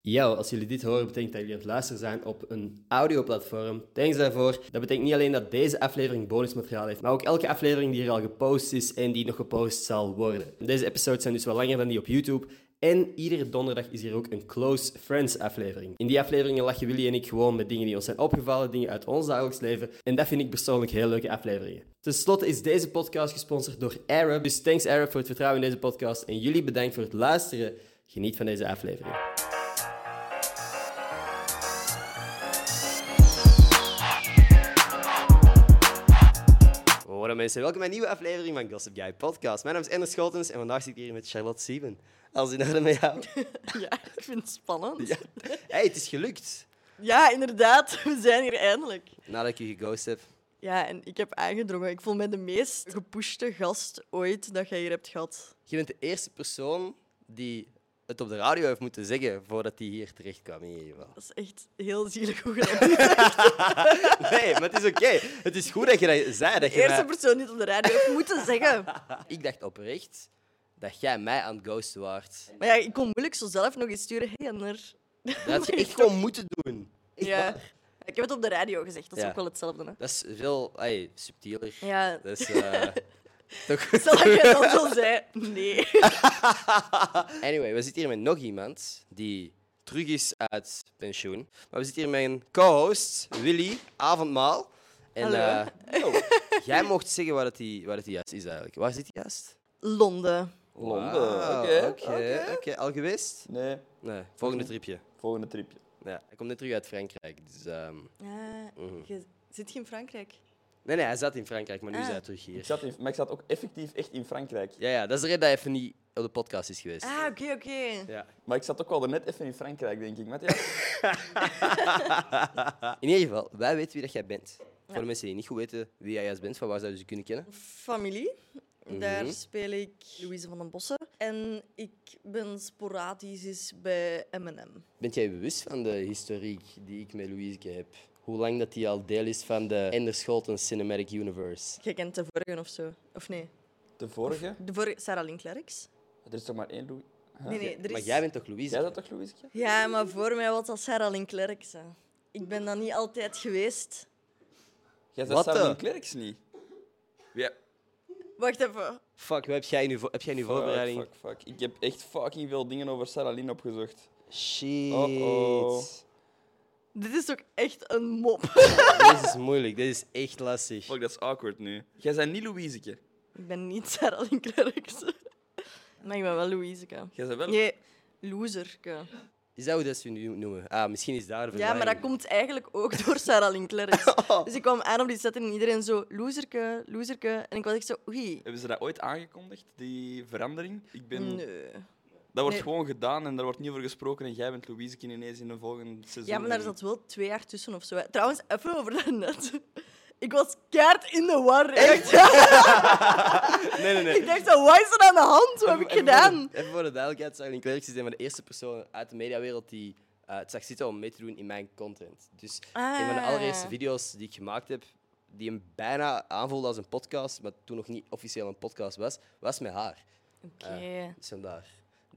Yo, als jullie dit horen, betekent dat jullie aan het luisteren zijn op een audioplatform. Thanks daarvoor. Dat betekent niet alleen dat deze aflevering bonusmateriaal heeft, maar ook elke aflevering die hier al gepost is en die nog gepost zal worden. Deze episodes zijn dus wel langer dan die op YouTube. En iedere donderdag is hier ook een Close Friends aflevering. In die afleveringen lachen Willy en ik gewoon met dingen die ons zijn opgevallen, dingen uit ons dagelijks leven. En dat vind ik persoonlijk heel leuke afleveringen. Ten slotte is deze podcast gesponsord door Arab. Dus thanks Arab voor het vertrouwen in deze podcast. En jullie bedankt voor het luisteren. Geniet van deze aflevering. Hoi mensen, welkom bij een nieuwe aflevering van Gossip Guy Podcast. Mijn naam is Ender Schotens en vandaag zit ik hier met Charlotte Sieben. Als in orde met jou. Ja, ik vind het spannend. Ja. Ja. hey, het is gelukt. inderdaad. We zijn hier eindelijk. Nadat ik je geghost heb. Ja, en ik heb aangedrongen. Ik voel me de meest gepushte gast ooit dat jij hier hebt gehad. Je bent de eerste persoon die het op de radio heeft moeten zeggen voordat hij hier terecht kwam in ieder geval. Dat is echt heel zielig hoe gedaan. Nee, maar het is oké. Het is goed dat je dat zei. Dat De je eerste mij- persoon die het op de radio heeft moeten zeggen. Ik dacht oprecht dat jij mij aan het ghosten waart. Maar ja, ik kon moeilijk zo zelf nog eens sturen. Hey, Anner. Dat had je echt gewoon moeten doen. Echt Ja. waar. Ik heb het op de radio gezegd. Dat is Ja. ook wel hetzelfde. Hè? Dat is veel ay, subtieler. Ja. Dat is... eh, toch... Stel dat jij dat al zei. Nee. Anyway, we zitten hier met nog iemand die terug is uit pensioen. Maar we zitten hier met een co-host, Willy, avondmaal. En Hallo. eh, yo, Oh, jij mocht zeggen waar het die, waar het die juist is eigenlijk. Waar zit die juist? Londen. Wauw, Londen. Oké, Oké, oké. Al geweest? Nee, Nee, volgende tripje. volgende tripje. Ja, hij komt net terug uit Frankrijk. Dus, ehm, Ja, Mhm. je zit je in Frankrijk? Nee, nee, hij zat in Frankrijk, maar nu is Ah. hij terug Ik hier. zat in, maar ik zat ook effectief echt in Frankrijk. Ja, ja, dat is de reden dat hij even niet op de podcast is geweest. Ah, oké, oké. Ja. Maar ik zat ook wel net even in Frankrijk, denk ik. Matthias. In ieder geval, wij weten wie dat jij bent. Voor de mensen die niet goed weten wie jij juist bent, van waar zouden ze je kunnen kennen? familie. Mhm. Daar speel ik Louise van den Bossen. En ik ben sporadisch eens bij M&M. Bent jij bewust van de historiek die ik met Louise heb? Hoe lang dat die al deel is van de Ender Scholten Cinematic Universe? Jij kent de vorige of zo? Of nee? De vorige. De vorige, Sarah Lynn Klerks? Er is toch maar één Louis. Huh? Nee, nee, er Ah, Maar is... jij bent toch Louise? Jij dat toch, Louisje? Ja, maar voor mij was dat Sarah Lynn Klerks. hè. Ik ben dat niet altijd geweest. Jij Wat zat samen de? in Klerks niet. Ja. Wacht even. Fuck, wat heb jij in je, vo- heb jij in je voorbereiding? Fuck, fuck, fuck. Ik heb echt fucking veel dingen over Sarah Lynn opgezocht. Shit. Uh-oh. Dit is ook echt een mop. Dit is moeilijk, dit is echt lastig. Fuck, dat is awkward nu. Jij bent niet Louiseke. ik ben niet Sarah Lynn Klerks. maar ik ben wel Louiseke. Jij bent wel... Nee, loserke. Is dat hoe dat ze je nu noemen? Ah, misschien is daar een Ja, maar dat verwarring. komt eigenlijk ook door Sarah Lynn Klerks. Dus ik kwam aan op die set en iedereen zo, loserke, loserke. En ik was echt zo, oei. Hebben ze dat ooit aangekondigd, die verandering? Ik ben... Nee. Dat wordt Nee. gewoon gedaan en daar wordt niet over gesproken. En jij bent Louiseke ineens in een volgende seizoen. Ja, maar daar dat zat wel twee jaar tussen of zo. hè. Trouwens, even over daarnet. Ik was keihard in de war. Echt? Nee, nee, nee. Ik dacht, zo, wat is er aan de hand? Wat heb ik Even voor de- gedaan? Even voor de duidelijkheid, Sarah Lynn Klerks is een van de eerste personen uit de mediawereld die eh, het zag zitten om mee te doen in mijn content. Dus een van de Ah. allereerste video's die ik gemaakt heb, die hem bijna aanvoelde als een podcast, maar toen nog niet officieel een podcast was, was met haar. Oké. Dus vandaar.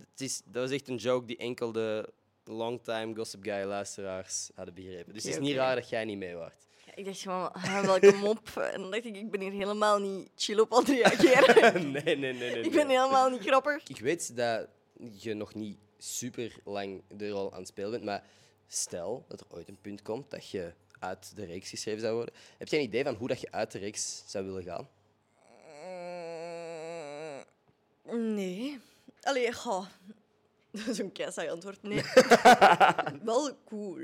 Het is, dat was echt een joke die enkel de longtime Gossip Guy luisteraars hadden begrepen. Dus het is Oké, niet oké. raar dat jij niet mee waart. Ja, ik dacht gewoon, ah, welke mop. En dan dacht ik, ik ben hier helemaal niet chill op aan het reageren. nee, nee, nee, nee. Ik nee. ben helemaal niet grappig. Ik weet dat je nog niet super lang de rol aan het spelen bent, maar stel dat er ooit een punt komt dat je uit de reeks geschreven zou worden. Heb jij een idee van hoe dat je uit de reeks zou willen gaan? Eh, nee. Allee, goh. Dat is een keisaai antwoord. Nee. Wel cool.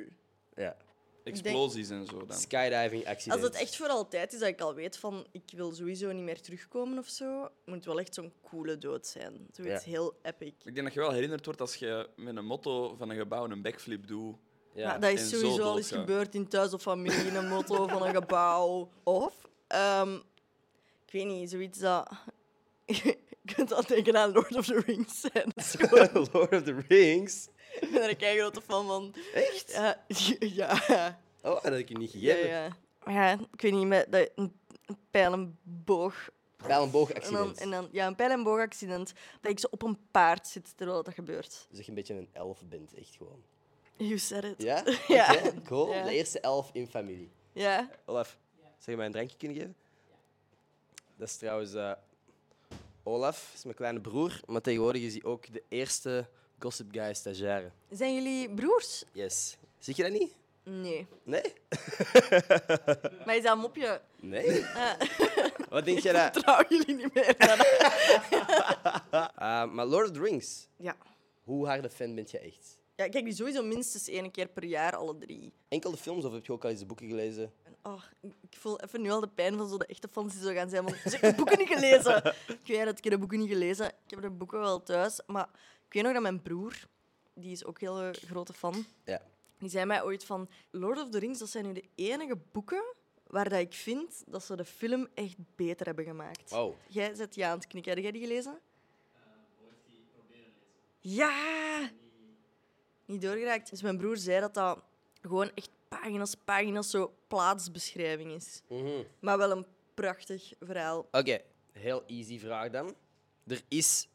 Ja. Explosies en zo dan. Skydiving, accident. Als het echt voor altijd is dat ik al weet van ik wil sowieso niet meer terugkomen of zo, moet het wel echt zo'n coole dood zijn. Zoiets Ja. heel epic. Ik denk dat je wel herinnerd wordt als je met een motto van een gebouw een backflip doet. Ja. Maar dat is en zo sowieso al eens doodgaan. gebeurd in thuis of familie, in een motto van een gebouw. Of, ehm, ik weet niet, zoiets dat... Je kunt al denken aan Lord of the Rings zijn. Dat is gewoon- Lord of the Rings. Ik ben er een keigrote fan van. Echt? Ja, ja. Oh, dat heb ik je niet Ja, gegeven. ja. Maar ja, ik weet niet, met dat, een, een pijl en boog. Bij een En dan, boogaccident. en dan, ja, een pijl en boogaccident. Dat ik zo op een paard zit terwijl dat gebeurt. Dus dat je een beetje een elf bent, echt gewoon. You said it. Ja? Ja. Oké, cool. Ja. De eerste elf in familie. Ja. Olaf, zou je mij een drankje kunnen geven? Dat is trouwens... eh, Olaf is mijn kleine broer, maar tegenwoordig is hij ook de eerste Gossip Guy stagiaire. Zijn jullie broers? Yes. Zie je dat niet? Nee. Nee? Maar is dat een mopje? Nee? Eh, Wat denk jij dat? Trouwen jullie niet meer? Ah, maar Lord of the Rings, ja. hoe harde fan bent je echt? ja. Ik kijk die sowieso minstens één keer per jaar, alle drie. Enkel de films of heb je ook al eens de boeken gelezen? En, oh, ik ik voel even nu al de pijn van zo de echte fans die zo gaan zijn. Want ik heb de boeken niet gelezen. Ik weet dat ik heb de boeken niet gelezen. Ik heb de boeken wel thuis. Maar ik weet nog dat mijn broer, die is ook heel eh, grote fan, Ja. die zei mij ooit van Lord of the Rings, dat zijn nu de enige boeken waar dat ik vind dat ze de film echt beter hebben gemaakt. Wow. Jij zet je aan het knikken. Heb jij die gelezen? Ja! Niet doorgeraakt. Dus mijn broer zei dat dat gewoon echt pagina's, pagina's zo plaatsbeschrijving is. Mhm. Maar wel een prachtig verhaal. Oké, heel easy vraag dan. Er is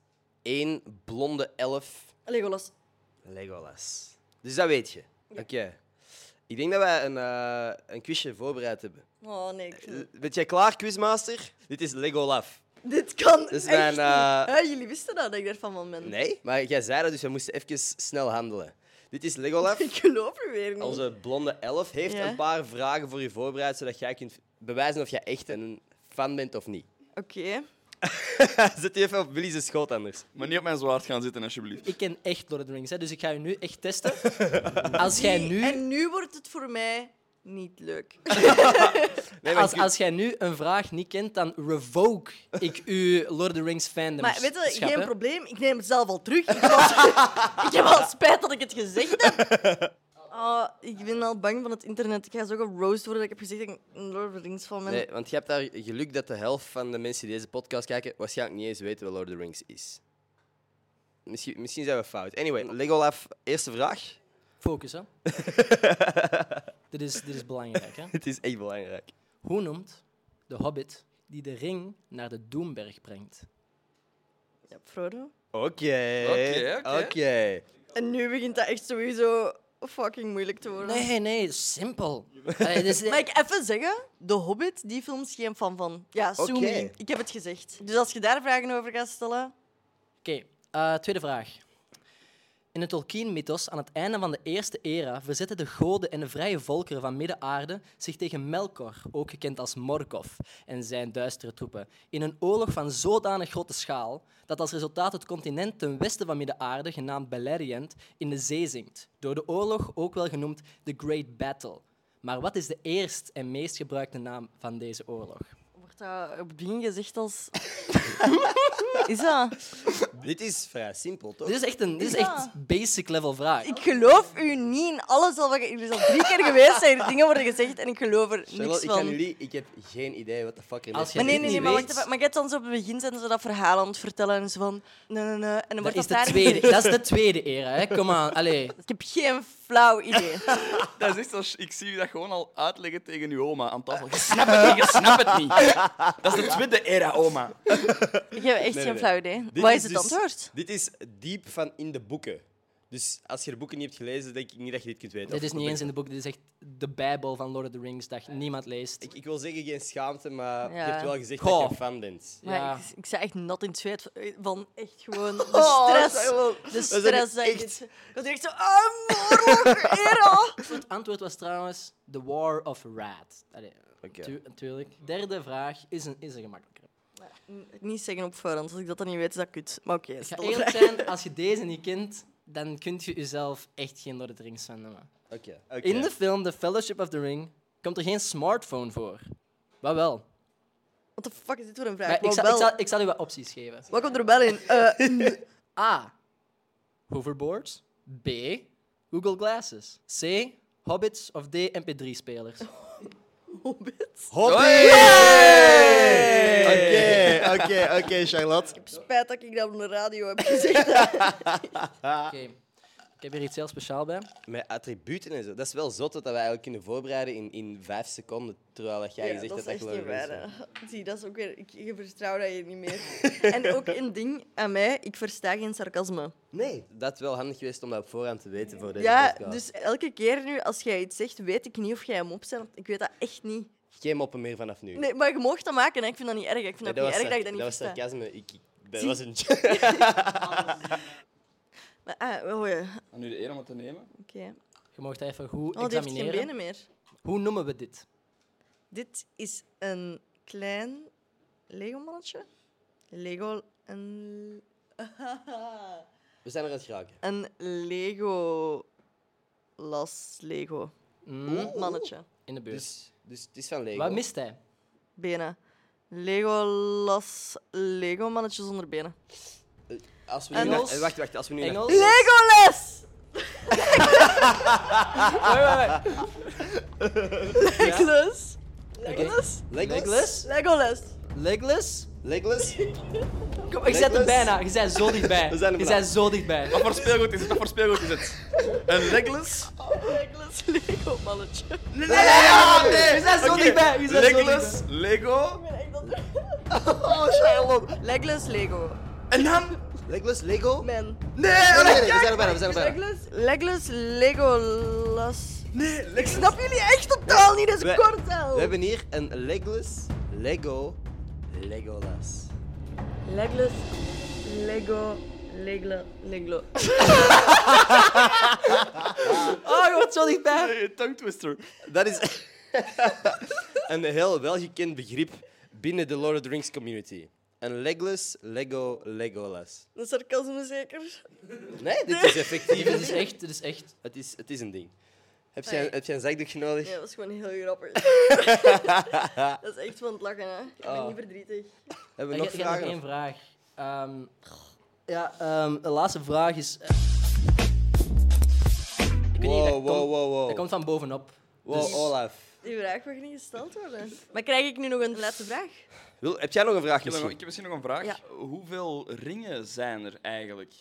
één blonde elf Legolas. Legolas. Dus dat weet je. Oké. Ik denk dat wij een, eh, een quizje voorbereid hebben. Oh nee, ik vind- Eh, Bent jij klaar, quizmaster? Dit is Legolaf. dit kan Dus echt mijn, niet. eh, Hè, jullie wisten dat, dat ik daarvan van ben. Nee, maar jij zei dat, dus we moesten even snel handelen. Dit is Legolaf. Ik geloof u weer niet. Onze blonde elf heeft Ja. een paar vragen voor je voorbereid, zodat jij kunt bewijzen of jij echt een fan bent of niet. Oké. Zet die even op Willy's schoot anders. Maar niet op mijn zwaard gaan zitten, alsjeblieft. Ik ken echt Lord of the Rings, hè, dus ik ga je nu echt testen. Als jij Die- nu, En nu wordt het voor mij niet leuk. Nee, maar als, ik- als jij nu een vraag niet kent, dan revoke ik uw Lord of the Rings fandom. Maar weet je, schap, geen hè. probleem. Ik neem het zelf al terug. Ik heb al, ik heb al spijt dat ik het gezegd heb. Oh, ik ben al bang van het internet. Ik ga zo geroost worden dat ik heb gezegd dat ik een Lord of the Rings fan ben. Nee, want je hebt daar geluk dat de helft van de mensen die deze podcast kijken waarschijnlijk niet eens weten wat Lord of the Rings is. Misschien, misschien zijn we fout. Anyway, Legolaf, eerste vraag. Focus, hè. dit, is, dit is belangrijk, hè. Het is echt belangrijk. Hoe noemt de hobbit die de ring naar de Doemberg brengt? Ja, Frodo. Oké. Oké, oké. Oké. En nu begint dat echt sowieso fucking moeilijk te worden. Nee, nee, simpel. Allee, dit is- Mag ik even zeggen? The Hobbit, die film is geen fan van. Ja, Sumi. Oké. Ik heb het gezegd. Dus als je daar vragen over gaat stellen... Oké, eh, tweede vraag. In de Tolkien-mythos, aan het einde van de Eerste Era, verzetten de goden en de vrije volkeren van Midden-Aarde zich tegen Melkor, ook gekend als Morgoth, en zijn duistere troepen, in een oorlog van zodanig grote schaal dat als resultaat het continent ten westen van Midden-Aarde, genaamd Beleriand, in de zee zinkt. Door de oorlog ook wel genoemd The Great Battle. Maar wat is de eerst en meest gebruikte naam van deze oorlog? Wordt dat op het begin gezegd als... is dat? Dit is vrij simpel, toch? Dit is echt een dit is echt basic level vraag. Ik geloof u niet in alles al wat je... Er is al drie keer geweest dat er dingen worden gezegd en ik geloof er niks Charlotte, ik, kan van. jullie, ik heb geen idee wat de fuck er Als is. jij Maar nee, dit nee, nee, niet maar wacht weet- even. Maar je hebt dan zo op het begin zijn ze dat verhaal aan het vertellen en ze van... Nee, nee, nee. En dan Dat wordt dat is, de daar... tweede, dat is de tweede era, hè? Kom aan, allee. Ik heb geen flauw idee. Dat is echt als ik zie je dat gewoon al uitleggen tegen uw oma aan tafel. Je snapt het niet, je snapt het niet. Dat is de tweede era, oma. Ik heb echt Nee, nee, geen flauw idee. Dit Wat is het dus- antwoord? Dit is diep van in de boeken. Dus als je de boeken niet hebt gelezen, denk ik niet dat je dit kunt weten. Dit Of- is niet eens in de boek, dit is echt de Bijbel van Lord of the Rings, dat niemand leest. Ik, ik wil zeggen geen schaamte, maar Ja. je hebt wel gezegd Goh. dat je fan bent. Maar Ja. ik, ik zei echt nat in het zweet eh, van echt gewoon de Oh, dat is stress. de dat is stress dat ik echt- dit- Ik was echt zo, ah, oorlog, era. Het antwoord was trouwens The War of Rat. Allee, tu- natuurlijk. Derde vraag is een, is een gemakkelijkere. Niet zeggen op voorhand, als ik dat dan niet weet, is dat kut. Maar oké, Ik ga stel eerlijk vraag. zijn, als je deze niet kent, dan kun je jezelf echt geen Lord of the Rings fan noemen. Oké. oké. In de film The Fellowship of the Ring komt er geen smartphone voor. Wat wel? What the fuck is dit voor een Maar vraag? ik, Wat, zal, ik, wel, zal, ik zal u wat opties geven. wat komt er wel in? Eh, n- A. Hoverboards. B. Google Glasses. C. Hobbits of D. MP3-spelers. Hobbit? Hoppie! Oké, oké, oké, Charlotte. Spijt dat ik dat op de radio heb gezegd. Oké. Ik heb hier iets heel speciaal bij. Met attributen en zo. Dat is wel zot dat we eigenlijk kunnen voorbereiden in, in vijf seconden. Terwijl dat jij Ja, gezegd dat is hebt dat echt je niet wel waar. bent. hè. Zie, dat is ook weer... Ik, je vertrouw dat hier niet meer. en ook een ding aan mij, ik versta geen sarcasme. Nee. Dat is wel handig geweest om dat op voorhand te weten voor deze ja, podcast. dus elke keer nu als jij iets zegt, weet ik niet of jij hem opzet. want Ik weet dat echt niet. Geen moppen meer vanaf nu. Nee, maar je mocht dat maken, hè. ik vind dat niet erg. Ik vind Nee, dat ook was niet erg dat sar- je dat niet was versta. sarcasme. Ik, ik- dat Zie- was een Maar, ah, oh ja, oké. Om nu de ene maar te nemen. Je mag dat even goed Oh, die heeft geen examineren. benen meer. Hoe noemen we dit? Dit is een klein Lego-mannetje. Lego... Een... We zijn eruit geraken. Een Lego... Las Lego. Mm, Mannetje. in de buurt. Dus, dus het is van Lego. Wat mist hij? Benen. Lego Las Lego mannetje zonder benen. Als we nu Engels? naar- eh, wacht, wacht. Als we nu naar- Engels? Legolas! Legolas! Legolas? Legolas? Legolas! Legless? Legolas? Kom, je zit er Legless? bijna. Je bent zo dichtbij. We zijn er Je bijna. bent zo dichtbij. Wat voor speelgoed is het? Wat voor speelgoed is het? Een legless? Legolas Lego mannetje. Nee, nee, nee, We zijn zo Oké, dichtbij. We zijn zo Legless, Lego. Oh, Charlotte. Legolas Lego. En dan? Legolas? Lego? Nee, Man. Nee, nee, nee, we zijn er bijna, we zijn er bijna. Legolas Legolas Legolas. nee, Ik Legolas. snap jullie echt totaal niet, dat is We- kort al. We hebben hier een Legolas, Lego, Legolas. Legolas Lego Leglo Leglo. Oh, je wordt zo dichtbij. Nee, tongue twister. Dat is een heel welgekend begrip binnen de Lord of the Rings community. Een Legolas, Lego, Legolas. Dat is sarcasme zeker. Nee, dit is effectief. Dit is echt, dit is echt. Het is, het is een ding. Heb Ah, jij, ja. heb jij een zakdoek nodig? Ja, dat was gewoon heel grappig. dat is echt van het lachen, hè. Ik ben Oh. niet verdrietig. Hebben Ik we nog heb ik heb nog vragen? één vraag. Ehm, ja, ehm, de laatste vraag is... eh, ik weet niet, dat Wow, komt- wow, wow, Dat wow. komt van bovenop. Wow, dus- Olaf. Die vraag mag niet gesteld worden. Maar krijg ik nu nog een laatste vraag? Wil, heb jij nog een vraag Ik heb, nog, misschien? ik heb misschien nog een vraag. Ja. Hoeveel ringen zijn er eigenlijk?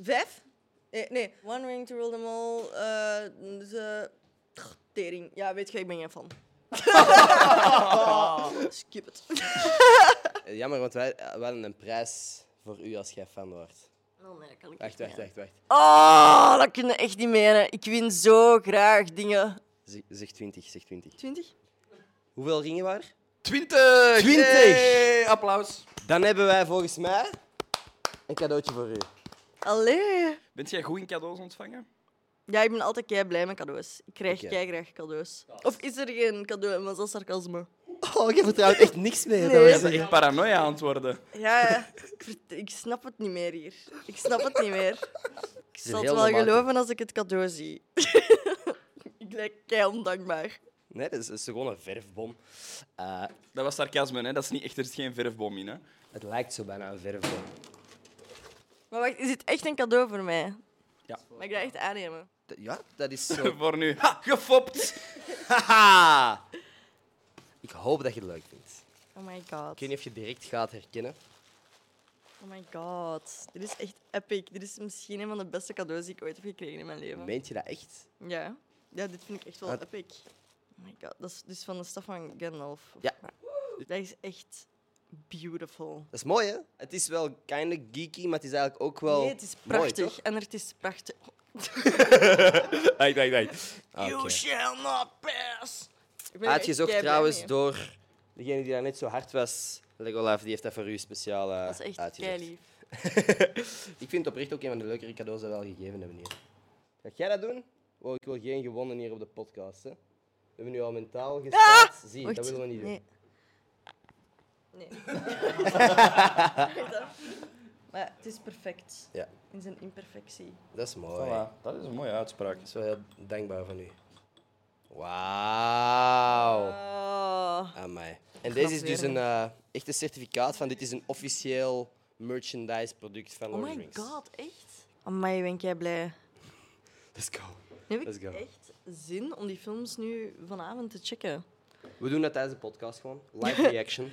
Vijf? Nee, nee. One ring to rule them all. eh ze... Tch, Tering. Ja, weet je, ik ben geen fan. Skip het. Eh, Jammer, want wij, eh, we hadden een prijs voor u als jij fan wordt. Oh nee, dat kan ik Wacht, echt wacht, niet. wacht. wacht. Oh, dat kun je echt niet meer. hè. Ik win zo graag dingen. Zeg, zeg 20, zeg 20. 20? Hoeveel ringen waren er? Twintig! 20! Yay, applaus. Dan hebben wij volgens mij een cadeautje voor u. Allee. Bent jij goed in cadeaus ontvangen? Ja, ik ben altijd kei blij met cadeaus. Ik krijg Oké. kei graag cadeaus. Of is er geen cadeau? Maar dat is sarcasme. Oh, ik heb vertrouwd echt niks meer. Nee. Dat is echt paranoia aan het worden. Ja, ja. Ik, vert- ik snap het niet meer hier. Ik snap het niet meer. Ik zal het heel wel normaal. geloven als ik het cadeau zie. ik lijk kei ondankbaar. Nee, dat is, dat is gewoon een verfbom. Eh, Dat was sarcasme, hè? Dat is niet echt, er is geen verfbom in, hè? het lijkt zo bijna een verfbom. Maar wacht, is dit echt een cadeau voor mij? Ja. Mag ik dat echt aannemen? D- Ja, dat is zo. Voor nu. Ha, gefopt! Haha! Ik hoop dat je het leuk vindt. Oh my god. Ik weet niet of je het direct gaat herkennen. Oh my god. Dit is echt epic. Dit is misschien een van de beste cadeaus die ik ooit heb gekregen in mijn leven. Meent je dat echt? Ja. Ja, dit vind ik echt wel Wat? epic. Oh my god. Dat is dus van de staf van Gandalf. Ja. Dat is echt beautiful. Dat is mooi, hè? Het is wel kinda geeky, maar het is eigenlijk ook wel. nee, het is mooi, prachtig. toch? en het is prachtig. Wacht, wacht, wacht. Ah, You Oké. shall not pass. Ik ben er echt Uitgezocht kei blij trouwens mee. door degene die daar net zo hard was. Legolaf, die heeft dat voor u speciaal eh, Dat is echt uitgezocht. kei lief. Ik vind het oprecht ook een van de leukere cadeaus dat we al gegeven hebben hier. Ga jij dat doen? Oh, ik wil geen gewonnen hier op de podcast. Hè. We hebben nu al mentaal gestart. Zie, dat willen we niet doen. Ah! Nee. Nee. maar het is perfect. Ja, In zijn imperfectie. dat is mooi. dat is een mooie uitspraak. Dat is wel heel dankbaar van u. Wauw. Oh. Aan mij. En deze is dus weer, een eh echt een certificaat van dit is een officieel merchandise product van Oh Lord of the my Rings. god, echt? Amai, ben ik jij blij. Let's go. Nu heb Let's ik go. echt zin om die films nu vanavond te checken. We doen dat tijdens de podcast gewoon. Live reaction.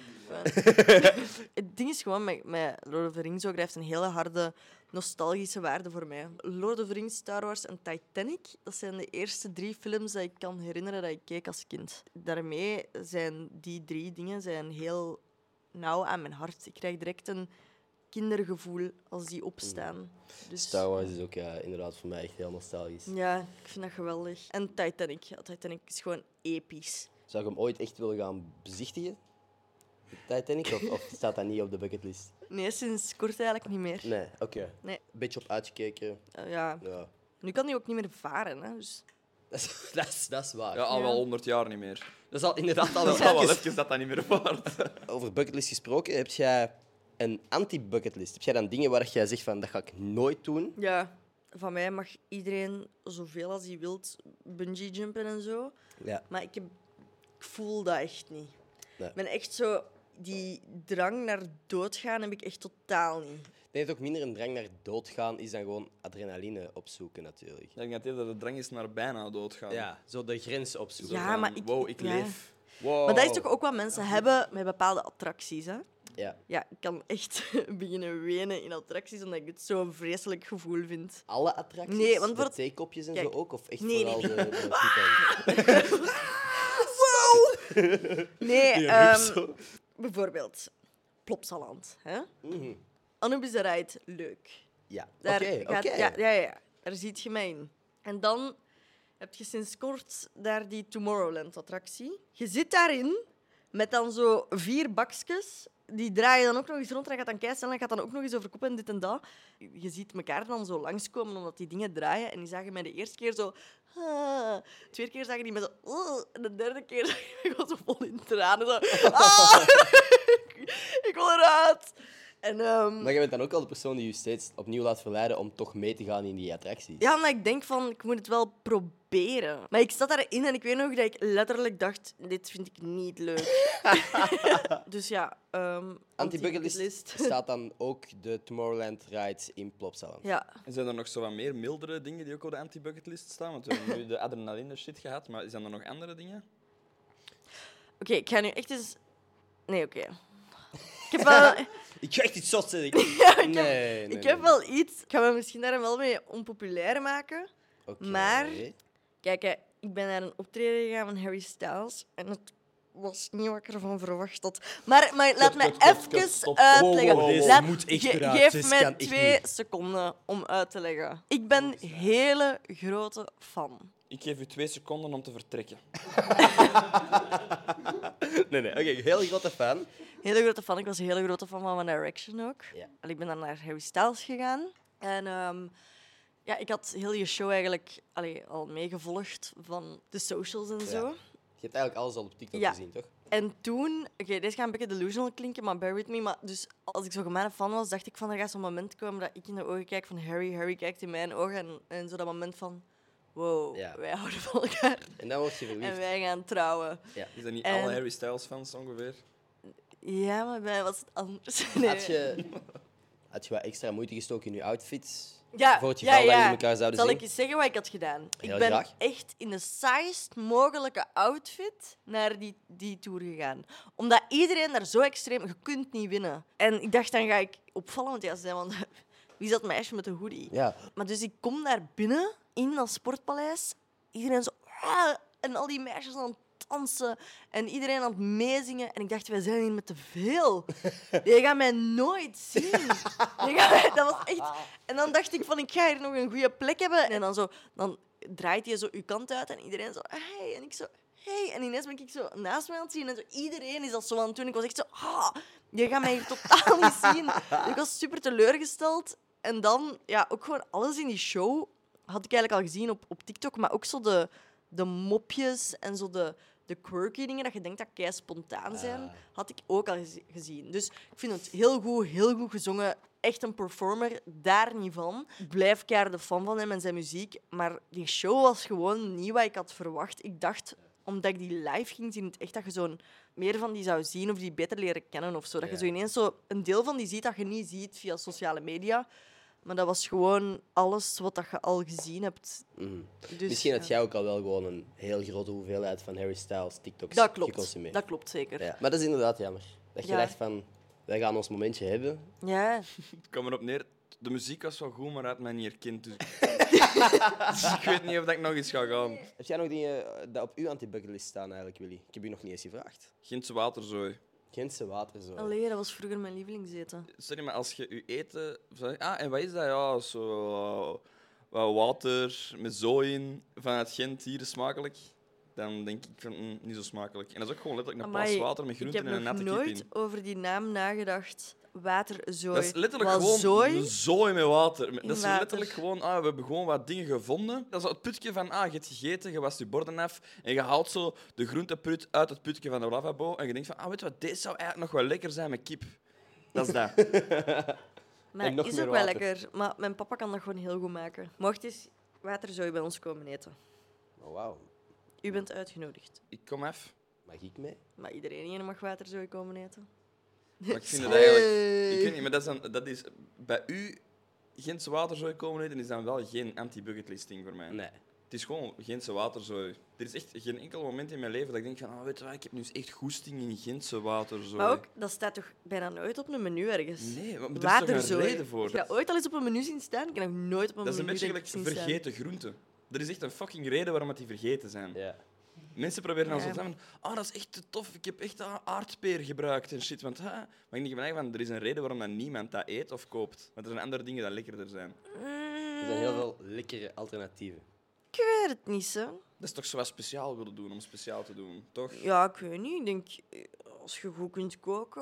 Het ding is gewoon met, met Lord of the Rings ook. Dat heeft een hele harde nostalgische waarde voor mij. Lord of the Rings, Star Wars en Titanic, dat zijn de eerste drie films dat ik kan herinneren dat ik keek als kind. Daarmee zijn die drie dingen zijn heel nauw aan mijn hart. Ik krijg direct een kindergevoel als die opstaan. Dus, Hmm. Star Wars is ook ja, inderdaad voor mij echt heel nostalgisch. Ja, ik vind dat geweldig. En Titanic. Ja, Titanic is gewoon episch. Zou ik hem ooit echt willen gaan bezichtigen? De Titanic? Of, of staat dat niet op de bucketlist? Nee, sinds kort eigenlijk niet meer. Nee, oké. Nee. Beetje op uitgekeken. Eh, ja. Ja. Nu kan die ook niet meer varen. Hè, dus... Dat is, dat is, dat is waar. Ja, al wel 100 jaar niet meer. Dat is al inderdaad al Dat is al wel wel. even dat dat niet meer waard. Over bucketlist gesproken, heb jij een anti-bucketlist? Heb jij dan dingen waar jij zegt van dat ga ik nooit doen? Ja, van mij mag iedereen zoveel als hij wilt bungee jumpen en zo. Ja. Maar ik, heb, ik voel dat echt niet. Nee. Ik ben echt zo... Die drang naar doodgaan heb ik echt totaal niet. Ik denk dat ook minder een drang naar doodgaan is dan gewoon adrenaline opzoeken natuurlijk. Ik denk dat dit dat de drang is naar bijna doodgaan. Ja, zo de grens opzoeken. Ja, Van, maar ik- Wow, ik ja. leef. Oh. Wow. Maar dat is toch ook wat mensen hebben met bepaalde attracties, hè? Ja. Ja, ik kan echt beginnen wenen in attracties, omdat ik het zo'n vreselijk gevoel vind. Alle attracties? Nee, want de voor- theekopjes en Kijk. zo ook? Of echt Nee, vooral de, nee, de Python? Wow! Nee, Ja, ehm, zo. bijvoorbeeld Plopsaland. Hè? Mhm. Anubis de Ride, leuk. Ja, oké, Daar oké. gaat- Ja, ja, ja, daar ziet je mij in. En dan heb je sinds kort daar die Tomorrowland-attractie. Je zit daarin met dan zo vier bakjes. Die draai je dan ook nog eens rond. Dan gaat dan keisnel en gaat dan ook nog eens over kop en dit en dat. Je ziet elkaar dan zo langskomen omdat die dingen draaien. En die zagen mij de eerste keer zo... Ah. Twee keer zagen die me zo... "Ugh." En de derde keer zag ik gewoon zo vol in tranen. Zo, ah. ik wil eruit. En, ehm, Maar jij bent dan ook al de persoon die je steeds opnieuw laat verleiden om toch mee te gaan in die attracties. Ja, omdat ik denk van, ik moet het wel proberen. Maar ik zat daarin en ik weet nog dat ik letterlijk dacht, dit vind ik niet leuk. dus ja, ehm Anti-bucketlist staat dan ook de Tomorrowland rides in Plopsaland. Ja, En zijn er nog zo wat meer mildere dingen die ook op de anti-bucketlist staan? Want we hebben nu de adrenaline shit gehad, maar zijn er nog andere dingen? oké, ik ga nu echt eens... Nee, oké. Ik heb wel... Ik ga echt iets zots zeggen. nee, nee, ik nee, heb nee. wel iets. Ik ga me misschien daar wel mee onpopulair maken. Oké. maar- Kijk, hè, ik ben naar een optreden gegaan van Harry Styles. En het was niet wat ik ervan verwacht had. Maar, maar laat mij kut, kut, even kut, stop. uitleggen. Wow, wow, wow, Laat- moet echt ge- eruit. Dit Geef kan mij echt twee seconden om uit te leggen. Ik ben hele grote fan. Ik geef u twee seconden om te vertrekken. Nee, nee. Oké, heel grote fan. Hele grote fan. Ik was een hele grote fan van One Direction ook. Ja. En ik ben dan naar Harry Styles gegaan. En ehm, ja, ik had heel je show eigenlijk allee, al meegevolgd van de socials en zo. Je hebt eigenlijk alles al op TikTok Ja. gezien, toch? En toen, oké, deze gaat een beetje delusional klinken, maar bear with me. Maar dus als ik zo gemene fan was, dacht ik van er gaat zo'n moment komen dat ik in de ogen kijk van Harry, Harry kijkt in mijn ogen. En, en zo dat moment van, wow, Ja. wij houden van elkaar En dan word je en verliefd. wij gaan trouwen. Is dat niet En- alle Harry Styles fans ongeveer? Ja, maar bij mij was het anders. Nee. Had, je, had je wat extra moeite gestoken in je outfit? ja, Voor het ja, geval dat ja. jullie elkaar zouden Zal zien? ik eens zeggen wat ik had gedaan? Heel ik ben graag. echt in de saaist mogelijke outfit naar die, die tour gegaan. Omdat iedereen daar zo extreem... Je kunt niet winnen. En ik dacht, dan ga ik opvallend ja zijn, want wie is dat meisje met de hoodie? Ja. Maar dus ik kom daar binnen, in dat sportpaleis. Iedereen zo... "Ah!" En al die meisjes aan het dansen. En iedereen aan het meezingen. En ik dacht, wij zijn hier met te veel. Je gaat mij nooit zien. Je gaat mij- dat was echt... En dan dacht ik van, ik ga hier nog een goede plek hebben. En dan, zo, dan draait je zo uw kant uit en iedereen zo... Hey. En ik zo... Hey. En ineens ben ik zo naast mij aan het zien. En zo, iedereen is dat zo aan het doen. Ik was echt zo... Ah, je gaat mij hier totaal niet zien. Dus ik was super teleurgesteld. En dan, ja, ook gewoon alles in die show had ik eigenlijk al gezien op, op TikTok. Maar ook zo de, de mopjes en zo de, de quirky dingen dat je denkt dat kei spontaan zijn, Ah. had ik ook al gezi- gezien. Dus ik vind het heel goed, heel goed gezongen. Echt een performer, daar niet van. Ik blijf de fan van hem en zijn muziek. Maar die show was gewoon niet wat ik had verwacht. Ik dacht, omdat ik die live ging zien, in het echt dat je zo'n meer van die zou zien of die beter leren kennen of zo. Dat je Ja. zo ineens zo een deel van die ziet dat je niet ziet via sociale media. Maar dat was gewoon alles wat dat je al gezien hebt. Mhm. Dus, Misschien had ja. jij ook al wel gewoon een heel grote hoeveelheid van Harry Styles TikToks Dat klopt. geconsumeerd. Dat klopt zeker. Ja. Ja. Maar dat is inderdaad jammer. Dat je Ja. dacht van, wij gaan ons momentje hebben. Ik kwam erop neer. De muziek was wel goed, maar hij had mij niet herkend. Dus... Dus ik weet niet of dat ik nog eens ga gaan. Heb jij nog dingen eh, dat op uw anti-bucketlist staan eigenlijk, Willy? Ik heb u nog niet eens gevraagd. Gentse waterzooi. Gentse waterzooi. Allee, dat was vroeger mijn lievelingseten. Sorry, maar als je je eten... zegt, Ah, en wat is dat? Ja, zo... eh, wat water met zooi in vanuit Gent, hier is smakelijk. Dan denk ik van, mm, niet zo smakelijk. En dat is ook gewoon letterlijk een plas Amai, water met Ik groenten heb en een nog natte kip nooit in. over die naam nagedacht. Waterzooi. Dat is letterlijk Wel gewoon zooi? een zooi met water. Dat is water. letterlijk gewoon, ah, we hebben gewoon wat dingen gevonden. Dat is het putje van, ah, je hebt gegeten, je wast je borden af en je haalt zo de groenteput uit het putje van de lavabo en je denkt van, ah, weet je wat, deze zou eigenlijk nog wel lekker zijn met kip. Dat is dat. Maar En nog is meer ook wel water. lekker. Maar mijn papa kan dat gewoon heel goed maken. Mocht eens waterzooi bij ons komen eten. Oh, wauw. U bent uitgenodigd. Ik kom af. Mag ik mee? Maar iedereen hier mag waterzooi komen eten. Maar ik vind het Eh, eigenlijk... Ik weet niet, maar dat is, dan, dat is bij u... Gentse waterzooi komen eten is dan wel geen anti-bucketlisting voor mij. Nee. Het is gewoon Gentse waterzooi. Er is echt geen enkel moment in mijn leven dat ik denk van, ah, weet je wat, ik heb nu eens echt goesting in Gentse waterzooi. Maar ook, dat staat toch bijna nooit op een menu ergens? Nee, maar er is toch een reden voor? Ik heb dat ooit al eens op een menu zien staan. Ik heb nog nooit op een Dat is een menu beetje denk gelijk ik zien staan. vergeten groenten. Er is echt een fucking reden waarom dat die vergeten zijn. Ja. Mensen proberen dan Ja. zo te zeggen, van, ah, dat is echt te tof, ik heb echt ah, aardpeer gebruikt en shit. Want, ah. Maar ik denk van, eigenlijk van, er is een reden waarom dat niemand dat eet of koopt. Want er zijn andere dingen die lekkerder zijn. Er zijn heel veel lekkere alternatieven. Mm, Ik weet het niet, hè. Dat is toch zo wat speciaal willen doen om speciaal te doen, toch? Ja, ik weet niet. Ik denk, eh, als je goed kunt koken,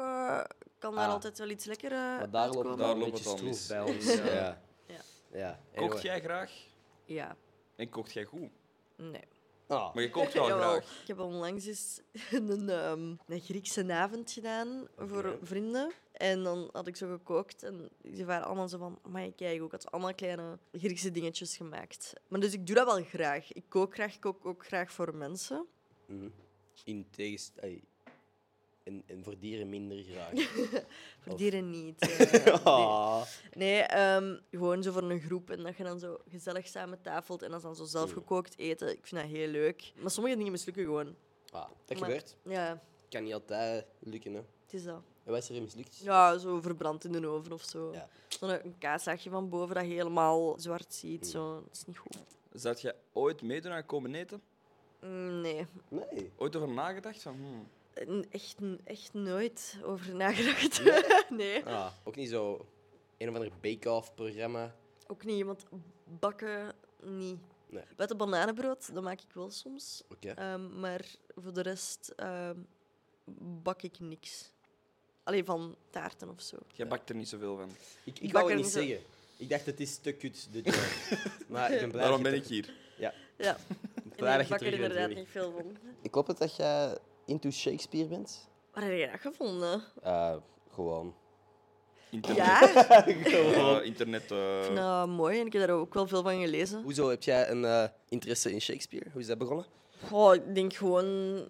kan daar Ah. altijd wel iets lekker eh, Maar daar loopt het uitkomen. al Daar een loopt beetje het al stroef mis. bij ons. Ja. Ja. Ja. Anyway. Kookt jij graag? Ja, En kookt jij goed? nee. Ah. Maar je kookt wel Jawel. graag. Ik heb onlangs eens een, ehm, een Griekse avond gedaan voor Oké. vrienden. En dan had ik zo gekookt. En ze waren allemaal zo van, maar kijk, ik had allemaal kleine Griekse dingetjes gemaakt. Maar dus ik doe dat wel graag. Ik kook graag, ik kook ook graag voor mensen. Mhm. In tegenstelling... En, en voor dieren minder graag. Voor Of- dieren niet. eh, nee. Ah. Nee, ehm, gewoon zo voor een groep en dat je dan zo gezellig samen tafelt en dat is dan zo zelf gekookt eten. Ik vind dat heel leuk. Maar sommige dingen mislukken gewoon. Ah, dat Maar- gebeurt. Ja, Kan niet altijd lukken, hè. het is dat. En wat is er mislukt? Ja, zo verbrand in de oven of zo. Ja. Zo'n een kaaszaagje van boven dat je helemaal zwart Mm. ziet. Zo. Dat is niet goed. Zou jij ooit meedoen aan komen eten? Mm, Nee, Nee. Ooit over nagedacht? Van, hmm, N- echt, n- echt nooit over nagedacht. nee. Ah, ook niet zo een of ander bake-off programma. Ook niet iemand bakken, niet. Nee. Met een bananenbrood, dat maak ik wel soms. Oké. Ehm, maar voor de rest ehm, bak ik niks. Alleen van taarten of zo. jij bakt er niet zoveel van. Ik, ik bak wou er het niet niet zo- zeggen. Ik dacht, het is te kut, de job. maar ik ben blij Daarom dat ben je ik hier. Ja, terug- en blij ik dat je terug bak er bent, inderdaad Willy. niet veel van. Klopt het dat jij into Shakespeare bent? Waar heb je dat gevonden? Eh, gewoon. Internet. Ja? Ik eh, internet. eh, vind dat mooi en ik heb daar ook wel veel van gelezen. Hoezo heb jij een eh, interesse in Shakespeare? Hoe is dat begonnen? Goh, ik denk gewoon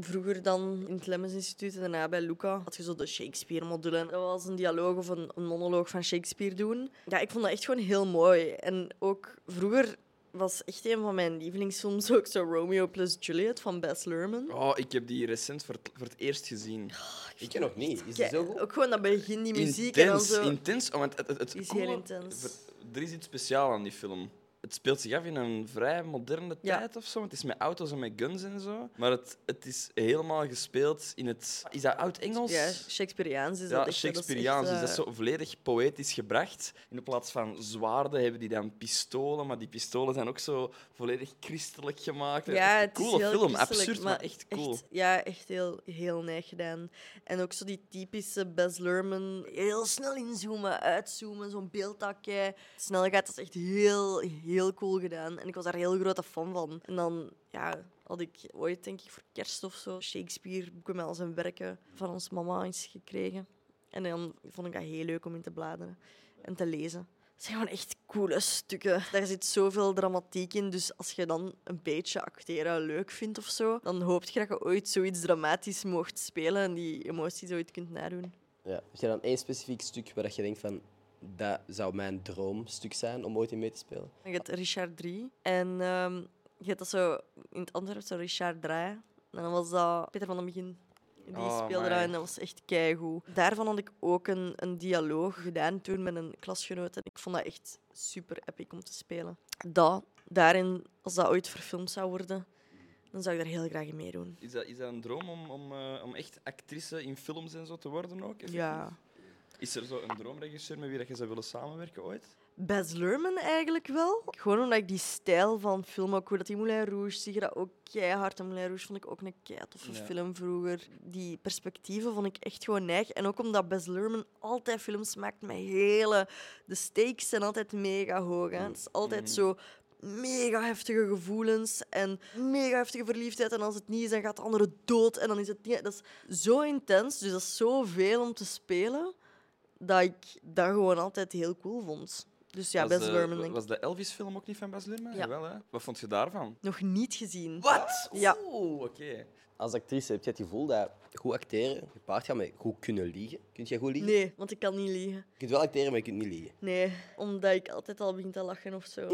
vroeger dan in het Lemmens Instituut en daarna bij Luca had je zo de Shakespeare-module. En Dat was een dialoog of een, een monoloog van Shakespeare doen. Ja, ik vond dat echt gewoon heel mooi. En ook vroeger was echt een van mijn lievelingsfilms ook zo Romeo plus Juliet van Bess Lerman. Oh, ik heb die recent voor het, voor het eerst gezien. Ik ken nog niet. Is Ja, die zo goed? Ook gewoon dat begin, die muziek en dan intens, zo. intens. Oh, want het, het, het Die is coole- heel intens. ver- Er is iets speciaal aan die film. Het speelt zich af in een vrij moderne Ja. tijd of zo. Het is met auto's en met guns en zo. Maar het, het is helemaal gespeeld in het. Is dat oud-Engels? Ja, Shakespeareaans is dat Ja, echt. hè. Dat is echt, Shakespeareaans. Dus dat is eh, zo volledig poëtisch gebracht. In plaats van zwaarden hebben die dan pistolen, maar die pistolen zijn ook zo volledig christelijk gemaakt. Ja, Echt een het is coole heel film, christelijk, absurd, maar, echt cool. ja, echt heel, heel neig gedaan. En ook zo die typische Baz Luhrmann. Heel snel inzoomen, uitzoomen, zo'n beeld dat jij snel gaat. Dat is echt heel, heel cool gedaan. En ik was daar heel grote fan van. En dan, ja... Had ik ooit, denk ik, voor kerst of zo, Shakespeare boeken met al zijn werken van ons mama eens gekregen. En dan vond ik dat heel leuk om in te bladeren en te lezen. Het zijn gewoon echt coole stukken. Daar zit zoveel dramatiek in. Dus als je dan een beetje acteren leuk vindt of zo, dan hoop je dat je ooit zoiets dramatisch mocht spelen en die emoties ooit kunt nadoen. Ja. Heb jij dan één specifiek stuk waar dat je denkt van... Dat zou mijn droomstuk zijn om ooit in mee te spelen. Je hebt Richard III. En ehm, je hebt dat zo in het Antwerp, zo Richard III. En dan was dat Peter van den Begin. Die Oh, speelde dat amai. en dat was echt keigoed. Daarvan had ik ook een, een dialoog gedaan toen met een klasgenoot. En ik vond dat echt super epic om te spelen. Dat, daarin, als dat ooit verfilmd zou worden, dan zou ik daar heel graag in meedoen. Is dat, is dat een droom om, om, eh, om echt actrice in films en zo te worden ook? effectief? Ja. Is er zo een droomregisseur met wie dat je zou willen samenwerken ooit? Baz Luhrmann eigenlijk wel. Gewoon omdat ik die stijl van film ook hoor. Dat die Moulin Rouge, zie je dat ook keihard. En Moulin Rouge vond ik ook een keitoffe Ja. film vroeger. Die perspectieven vond ik echt gewoon neig. En ook omdat Baz Luhrmann altijd films maakt met hele... De stakes zijn altijd mega hoog. Hè. Het is altijd zo mega heftige gevoelens en mega heftige verliefdheid. En als het niet is, dan gaat de andere dood. En dan is het niet... Dat is zo intens, dus dat is zoveel om te spelen, dat ik dat gewoon altijd heel cool vond. Dus ja, was Baz eh, de- Luhrmann, denk ik. Was de Elvis-film ook niet van Bas Luhrmann? Ja. Jawel, hè? Wat vond je daarvan? Nog niet gezien. Wat? Ja. Oeh, oké. Als actrice heb je het gevoel dat goed acteren gepaard gaat met goed kunnen liegen. Kun jij goed liegen? Nee, want ik kan niet liegen. Je kunt wel acteren, maar je kunt niet liegen. Nee, omdat ik altijd al begin te lachen of zo.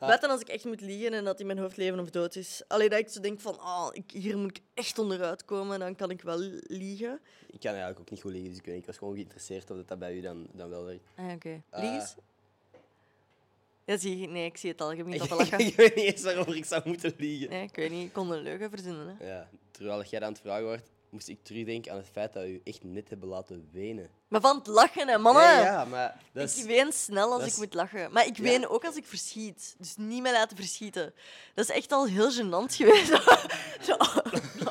Wat dan als ik echt moet liegen en dat in mijn hoofd leven of dood is? Alleen dat ik zo denk van, ah, ik, hier moet ik echt onderuit komen, dan kan ik wel liegen. Ik kan eigenlijk ook niet goed liegen, dus ik, weet niet, ik was gewoon geïnteresseerd of dat, dat bij u dan, dan wel werkt. Ah, oké. Eh. Lieg eens. Ja, zie je. Nee, ik zie het al. Ik heb niet al te ik, lachen. weet niet eens waarover ik zou moeten liegen. Nee, ik weet niet. Ik kon een leugen verzinnen. Hè. Ja, terwijl jij aan het vragen wordt, moest ik terugdenken aan het feit dat we u echt net hebben laten wenen. Maar van het lachen, hè, mannen. Ja, ja, maar dat is... Ik ween snel als dat ik is- moet lachen. Maar ik Ja. ween ook als ik verschiet. Dus niet meer laten verschieten. Dat is echt al heel gênant geweest. Zo,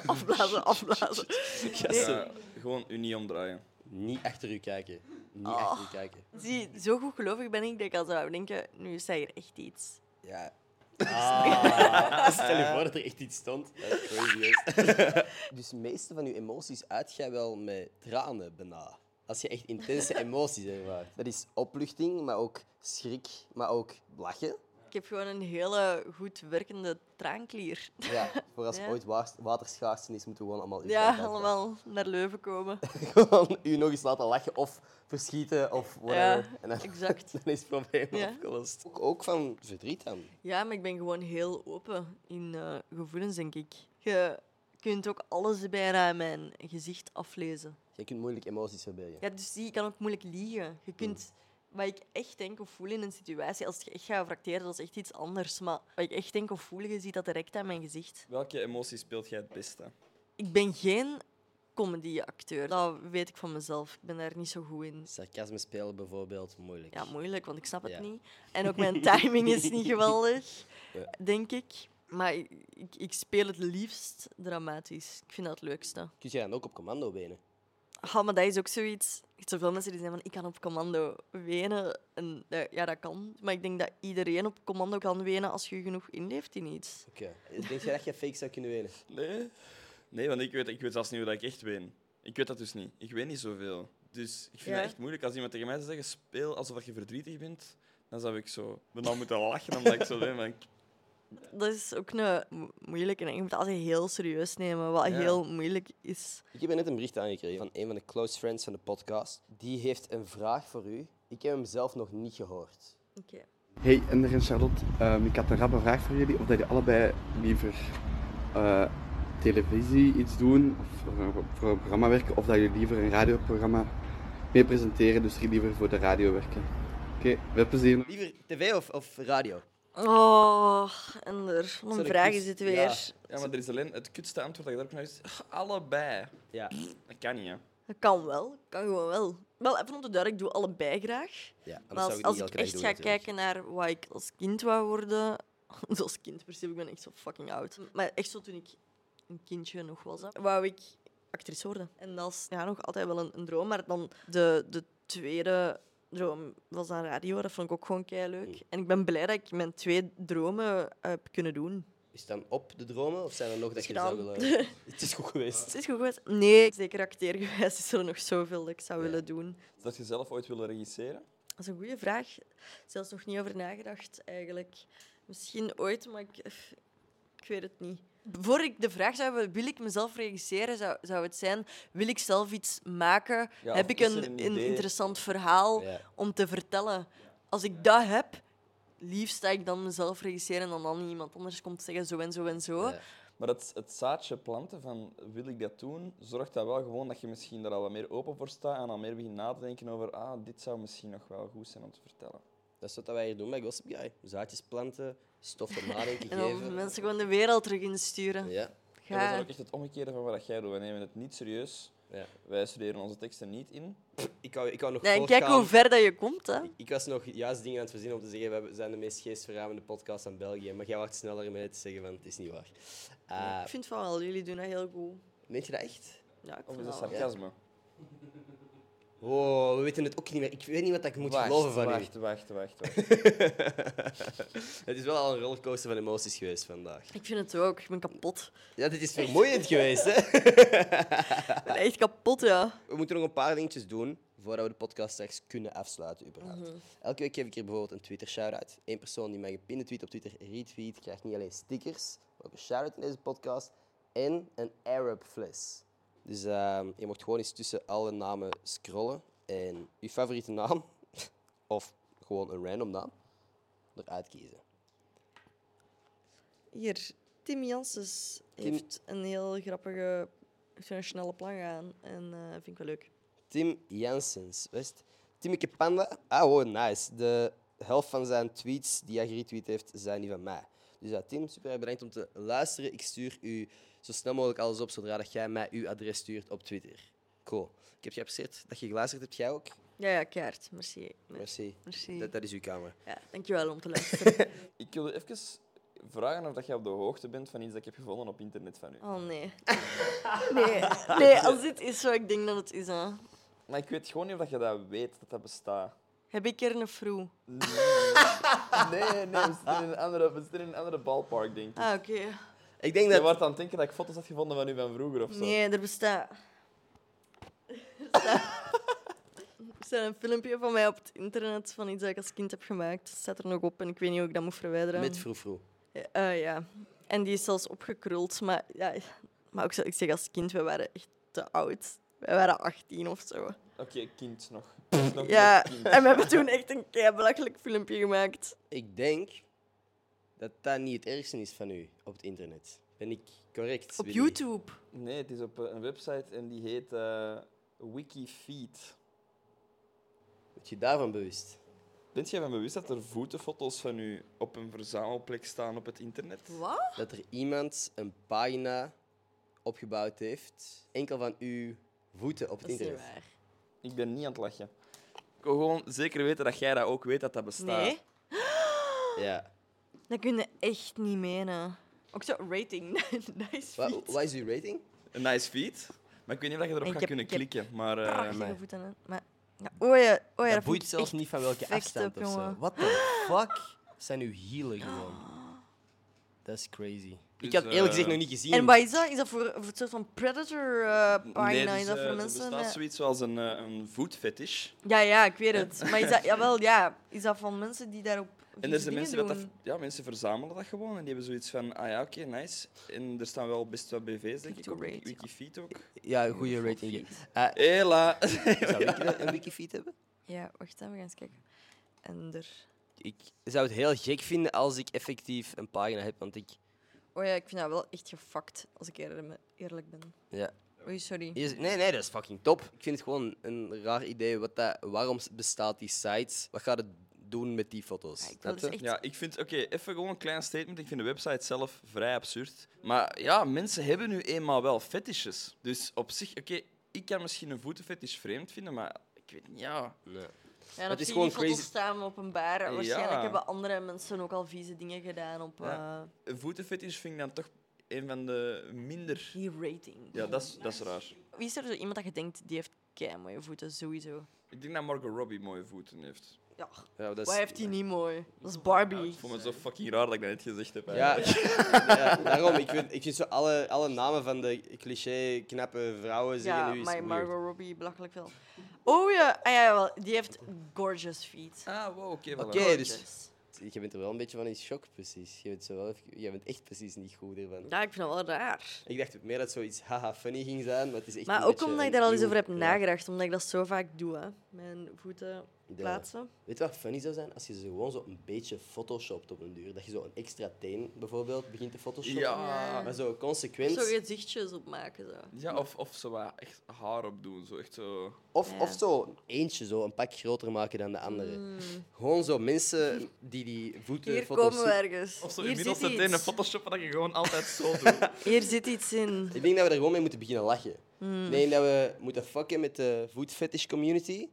afblazen, afblazen. Ja, gewoon Unie omdraaien. Niet achter u kijken. Niet Oh. achter u kijken. Zie, zo goed gelovig ben ik dat ik al zou denken, nu is hij hier echt iets. Ja. Ah, stel je voor dat er echt iets stond. Dat is crazy, hè. Dus de meeste van je emoties uit jij wel met tranen bijna. Als je echt intense emoties ervaart. Dat is opluchting, maar ook schrik, maar ook lachen. Ik heb gewoon een hele goed werkende traanklier. Ja, voor als Ja. ooit waars- waterschaarste is, moeten we gewoon allemaal... uw tijd Ja, uitgaan. allemaal naar Leuven komen. Gewoon u nog eens laten lachen of verschieten of whatever. Ja, en dan, exact. dan is het probleem Ja. opgelost. Ook, ook van verdriet dan. Ja, maar ik ben gewoon heel open in eh, gevoelens, denk ik. Je kunt ook alles bijna in mijn gezicht aflezen. Je kunt moeilijk emoties verbergen. Ja, dus die kan ook moeilijk liegen. Je kunt wat ik echt denk of voel in een situatie, als je echt gaat fracteren, dat is echt iets anders. Maar wat ik echt denk of voel, je ziet dat direct aan mijn gezicht. Welke emotie speelt jij het beste? Ik ben geen comedyacteur. Dat weet ik van mezelf. Ik ben daar niet zo goed in. Sarcasme spelen bijvoorbeeld, moeilijk. Ja, moeilijk, want ik snap het Ja. niet. En ook mijn timing is niet geweldig, Ja. denk ik. Maar ik, ik- ik speel het liefst dramatisch. Ik vind dat het leukste. Kun je dan ook op commando benen? Ah, maar dat is ook zoiets. Er zijn zoveel mensen die zeggen van ik kan op commando wenen. En, eh, ja, dat kan. Maar ik denk dat iedereen op commando kan wenen als je genoeg inleeft in iets. Oké. Denk je dat je fake zou kunnen wenen? Nee. Nee, want ik weet, ik weet zelfs niet hoe dat ik echt ween. Ik weet dat dus niet. Ik weet niet zoveel. Dus ik vind Ja. het echt moeilijk als iemand tegen mij zou zeggen, speel alsof je verdrietig bent. Dan zou ik zo bijna moeten lachen omdat ik zo ben. Maar ik- Dat is ook een mo- moeilijke. en Je moet het altijd heel serieus nemen, wat Ja. heel moeilijk is. Ik heb net een bericht aangekregen van een van de close friends van de podcast. Die heeft een vraag voor u. Ik heb hem zelf nog niet gehoord. Oké. Hey, Ender en Charlotte. Ehm, ik had een rappe vraag voor jullie. Of dat jullie allebei liever eh, televisie iets doen, of voor, een- voor een programma werken, of dat jullie liever een radioprogramma mee presenteren, dus jullie liever voor de radio werken. Oké, veel plezier. Liever tv of, of radio? Oh, Ender, wat een Sorry, vraag kus. is dit Ja. weer. Ja, maar er is alleen het kutste antwoord dat je daarop naar is. Allebei. Ja. Dat kan niet, hè. Dat kan wel, kan gewoon wel. Wel, even om te duiden, ik doe allebei graag. ja anders Maar zou als, ik als niet ik elke dag echt doen, ga natuurlijk. kijken naar wat ik als kind wou worden... Zoals kind, precies, ik ben echt zo fucking oud. Maar echt zo toen ik een kindje nog was, hè, wou ik actrice worden. En dat is ja, nog altijd wel een, een droom. Maar dan de, de tweede droom was aan radio. Dat vond ik ook gewoon Hmm. leuk. En ik ben blij dat ik mijn twee dromen eh, heb kunnen doen. Is het dan op de dromen of zijn er nog dat Is je zou gedaan. willen... het is goed geweest. Het is goed geweest. Nee, zeker acteergewijs is er nog zoveel dat ik zou willen doen. Zou je zelf ooit willen regisseren? Dat is een goede vraag. Zelfs nog niet over nagedacht, eigenlijk. Misschien ooit, maar ik, ik weet het niet. voor ik de vraag zou hebben, wil ik mezelf regisseren, zou, zou het zijn, wil ik zelf iets maken? Ja, of heb ik is er een, een een, idee? interessant verhaal Ja. om te vertellen? Als ik dat heb, liefst dat ik dan mezelf regisseren en dan, dan iemand anders komt zeggen zo en zo en zo. Ja. Maar het, het zaadje planten van wil ik dat doen, zorgt dat wel gewoon dat je misschien daar al wat meer open voor staat en al meer begint na te denken over ah, dit zou misschien nog wel goed zijn om te vertellen. Dat is wat wij hier doen bij Gossip Guy. Zaadjes planten, stof tot nadenken En dan geven. mensen gewoon de wereld terug insturen. Ja, En dat is Ga. dan ook echt het omgekeerde van wat jij doet. Wij nemen het niet serieus. ja. Wij studeren onze teksten niet in. Ik wou, ik wou nog Nee, en kijk voortgaan. hoe ver dat je komt, hè. Ik was nog juist dingen aan het verzinnen om te zeggen, we hebben- zijn de meest geestverruimende podcast van België. Maar jij wacht sneller met te zeggen, want het is niet waar. Eh, Ik vind van wel, jullie doen dat heel goed. Meent je dat echt? Ja, ik Of vind is Oh, dat dat wel. sarcasme? Wow, we weten het ook niet meer. Ik weet niet wat ik moet Wacht, geloven van wacht, wacht, wacht, wacht. Het is wel al een rollercoaster van emoties geweest vandaag. Ik vind het ook, ik ben kapot. Ja, dit is vermoeiend geweest, hè? Ik ben echt kapot, ja. We moeten nog een paar dingetjes doen voordat we de podcast straks kunnen afsluiten, überhaupt. Elke week geef ik hier bijvoorbeeld een Twitter-shout-out. Eén persoon die mij gepinde tweet op Twitter retweet, krijgt niet alleen stickers, maar ook een shout-out in deze podcast en een Arab fles. Dus ehm, je mocht gewoon eens tussen alle namen scrollen en je favoriete naam, of gewoon een random naam, eruit kiezen. Hier, Tim Janssens Tim- heeft een heel grappige, heeft een snelle plan aan. En eh vind ik wel leuk. Tim Janssens, wist? Timmeke Panda. Ah, wow, nice. De helft van zijn tweets die hij geretweet heeft, zijn die van mij. Dus ja, Tim, super erg bedankt om te luisteren. Ik stuur u zo snel mogelijk alles op zodra dat jij mij uw adres stuurt op Twitter. Cool. Ik heb je geapprecieerd dat je geluisterd hebt. Jij ook? Ja, ja, keihard. Merci. Merci. Merci. Dat, dat is uw kamer. Ja, dankjewel om te luisteren. Ik wil even vragen of dat jij op de hoogte bent van iets dat ik heb gevonden op internet van u. Oh, nee. Nee, nee als dit is wat ik denk dat het is, hè. Maar ik weet gewoon niet of dat je dat weet, dat dat bestaat. Heb ik er een vroeg? Nee, nee, we zitten in een andere, we zitten in een andere ballpark, denk ik. Ah, oké. Ik denk Je dat... wordt aan het denken dat ik foto's had gevonden van u van vroeger of zo. Nee, er bestaat. Er staat een filmpje van mij op het internet van iets dat ik als kind heb gemaakt. Dat staat er nog op en ik weet niet hoe ik dat moet verwijderen. Met vroefroe. Eh, ja. En die is zelfs opgekruld. Maar, ja, maar ook zo, ik zeg als kind, we waren echt te oud. Wij waren 18 of zo. Oké, kind nog. nog Ja, nog kind. en we hebben toen echt een kei belachelijk filmpje gemaakt. Ik denk dat dat niet het ergste is van u op het internet. Ben ik correct? Op Willy? YouTube. Nee, het is op eh, een website en die heet eh Wikifeed. Ben je daarvan bewust? Bent jij van bewust dat er voetenfoto's van u op een verzamelplek staan op het internet? Wat? dat er iemand een pagina opgebouwd heeft, enkel van uw voeten op het Dat is niet internet. waar. Ik ben niet aan het lachen. Ik wil gewoon zeker weten dat jij dat ook weet dat dat bestaat. Nee, Ja. dat kun je echt niet menen. Ook zo, rating. nice Wa- feet. Wat is uw rating? Een nice feed. Maar ik weet niet of je erop Ik gaat heb- kunnen ik heb klikken. Maar eh, Prachtige Ah, voeten. hè. Maar, ja, oh ja, oh ja, dat vind boeit ik zelfs echt niet van welke perfect afstand op, of zo. jongen. Ah. What the fuck zijn uw hielen gewoon? Dat is crazy. Dus, ik had eerlijk gezegd eh, nog niet gezien. En wat is dat? Is dat voor, voor een soort van predator eh pagina? nee, dus, is dat eh, voor er mensen? bestaat met- zoiets als een, eh, een voetfetish. Ja, ja, ik weet het. Maar is dat, jawel, ja. Is dat van mensen die daarop En vieze er dingen zijn mensen, dat dat, doen? ja, mensen verzamelen dat gewoon en die hebben zoiets van, ah ja, oké, nice. En er staan wel best wat BV's, denk ik, Doe op rate, ja. Wikifeed ook. Ja, een goede rating. Hela! Eh, zou ik wel een wikifeet hebben? Ja, wacht even, we gaan eens kijken. En er... Ik zou het heel gek vinden als ik effectief een pagina heb, want ik... Oh ja, ik vind dat wel echt gefakt, als ik eerlijk- eerlijk ben. Ja, Oei, sorry. Hier is- nee, nee, dat is fucking top. Ik vind het gewoon een raar idee. Wat dat, waarom s- bestaat die site? Wat gaat het doen met die foto's? Ja, ik wil Snap dus je? echt... Ja, ik vind, oké, even gewoon een klein statement. Ik vind de website zelf vrij absurd. Maar ja, mensen hebben nu eenmaal wel fetishes. Dus op zich, oké, ik kan misschien een voetenfetish vreemd vinden, maar ik weet niet, ja. Nee. Ja, en Het op is die gewoon foto's crazy. staan openbaar. Waarschijnlijk Ja. hebben andere mensen ook al vieze dingen gedaan op Ja. eh, Een voetenfetish vind ik dan toch een van de minder... die rating. Ja, dat is, dat is raar. Wie is er zo iemand dat je denkt, die heeft kei mooie voeten, sowieso. Ik denk dat Margot Robbie mooie voeten heeft. Ja, Ja, dat is- waar heeft hij niet mooi? Dat is Barbie. Ik vond het zo fucking raar dat ik dat net gezegd heb. Ja, eigenlijk. ja, daarom. Ik vind, ik vind zo alle, alle namen van de cliché knappe vrouwen zeggen Ja, nu is maar weird. Margot Robbie, belachelijk veel. Oh ja, ah, ja wel. die heeft gorgeous feet. Ah, wow, oké. voilà. Oké, dus Gorgeous. je bent er wel een beetje van in shock, precies. Je bent, zo wel even- je bent echt precies niet goed ervan. Ja, ik vind dat wel raar. Ik dacht meer dat het zoiets haha funny ging zijn, maar het is echt Maar een ook beetje omdat ik een daar al eens eeuw- over heb ja. nagedacht, omdat ik dat zo vaak doe, hè. Mijn voeten Ja. plaatsen. Weet je wat funny zou zijn? Als je ze gewoon zo een beetje photoshopt op een duur. Dat je zo een extra teen bijvoorbeeld begint te photoshoppen. Ja. Maar zo consequent. Zo gezichtjes opmaken, zo. Ja, of, of ze wat echt haar opdoen. Zo echt zo. Of, Ja. Hmm. of zo eentje zo een pak groter maken dan de andere. Gewoon zo mensen die die voeten Hier photoshoppen. komen we ergens. Of zo Hier inmiddels zit het ene iets. photoshoppen dat je gewoon altijd zo doet. Hier zit iets in. Ik denk dat we er gewoon mee moeten beginnen lachen. Hmm. Ik denk dat we moeten fucken met de food fetish community.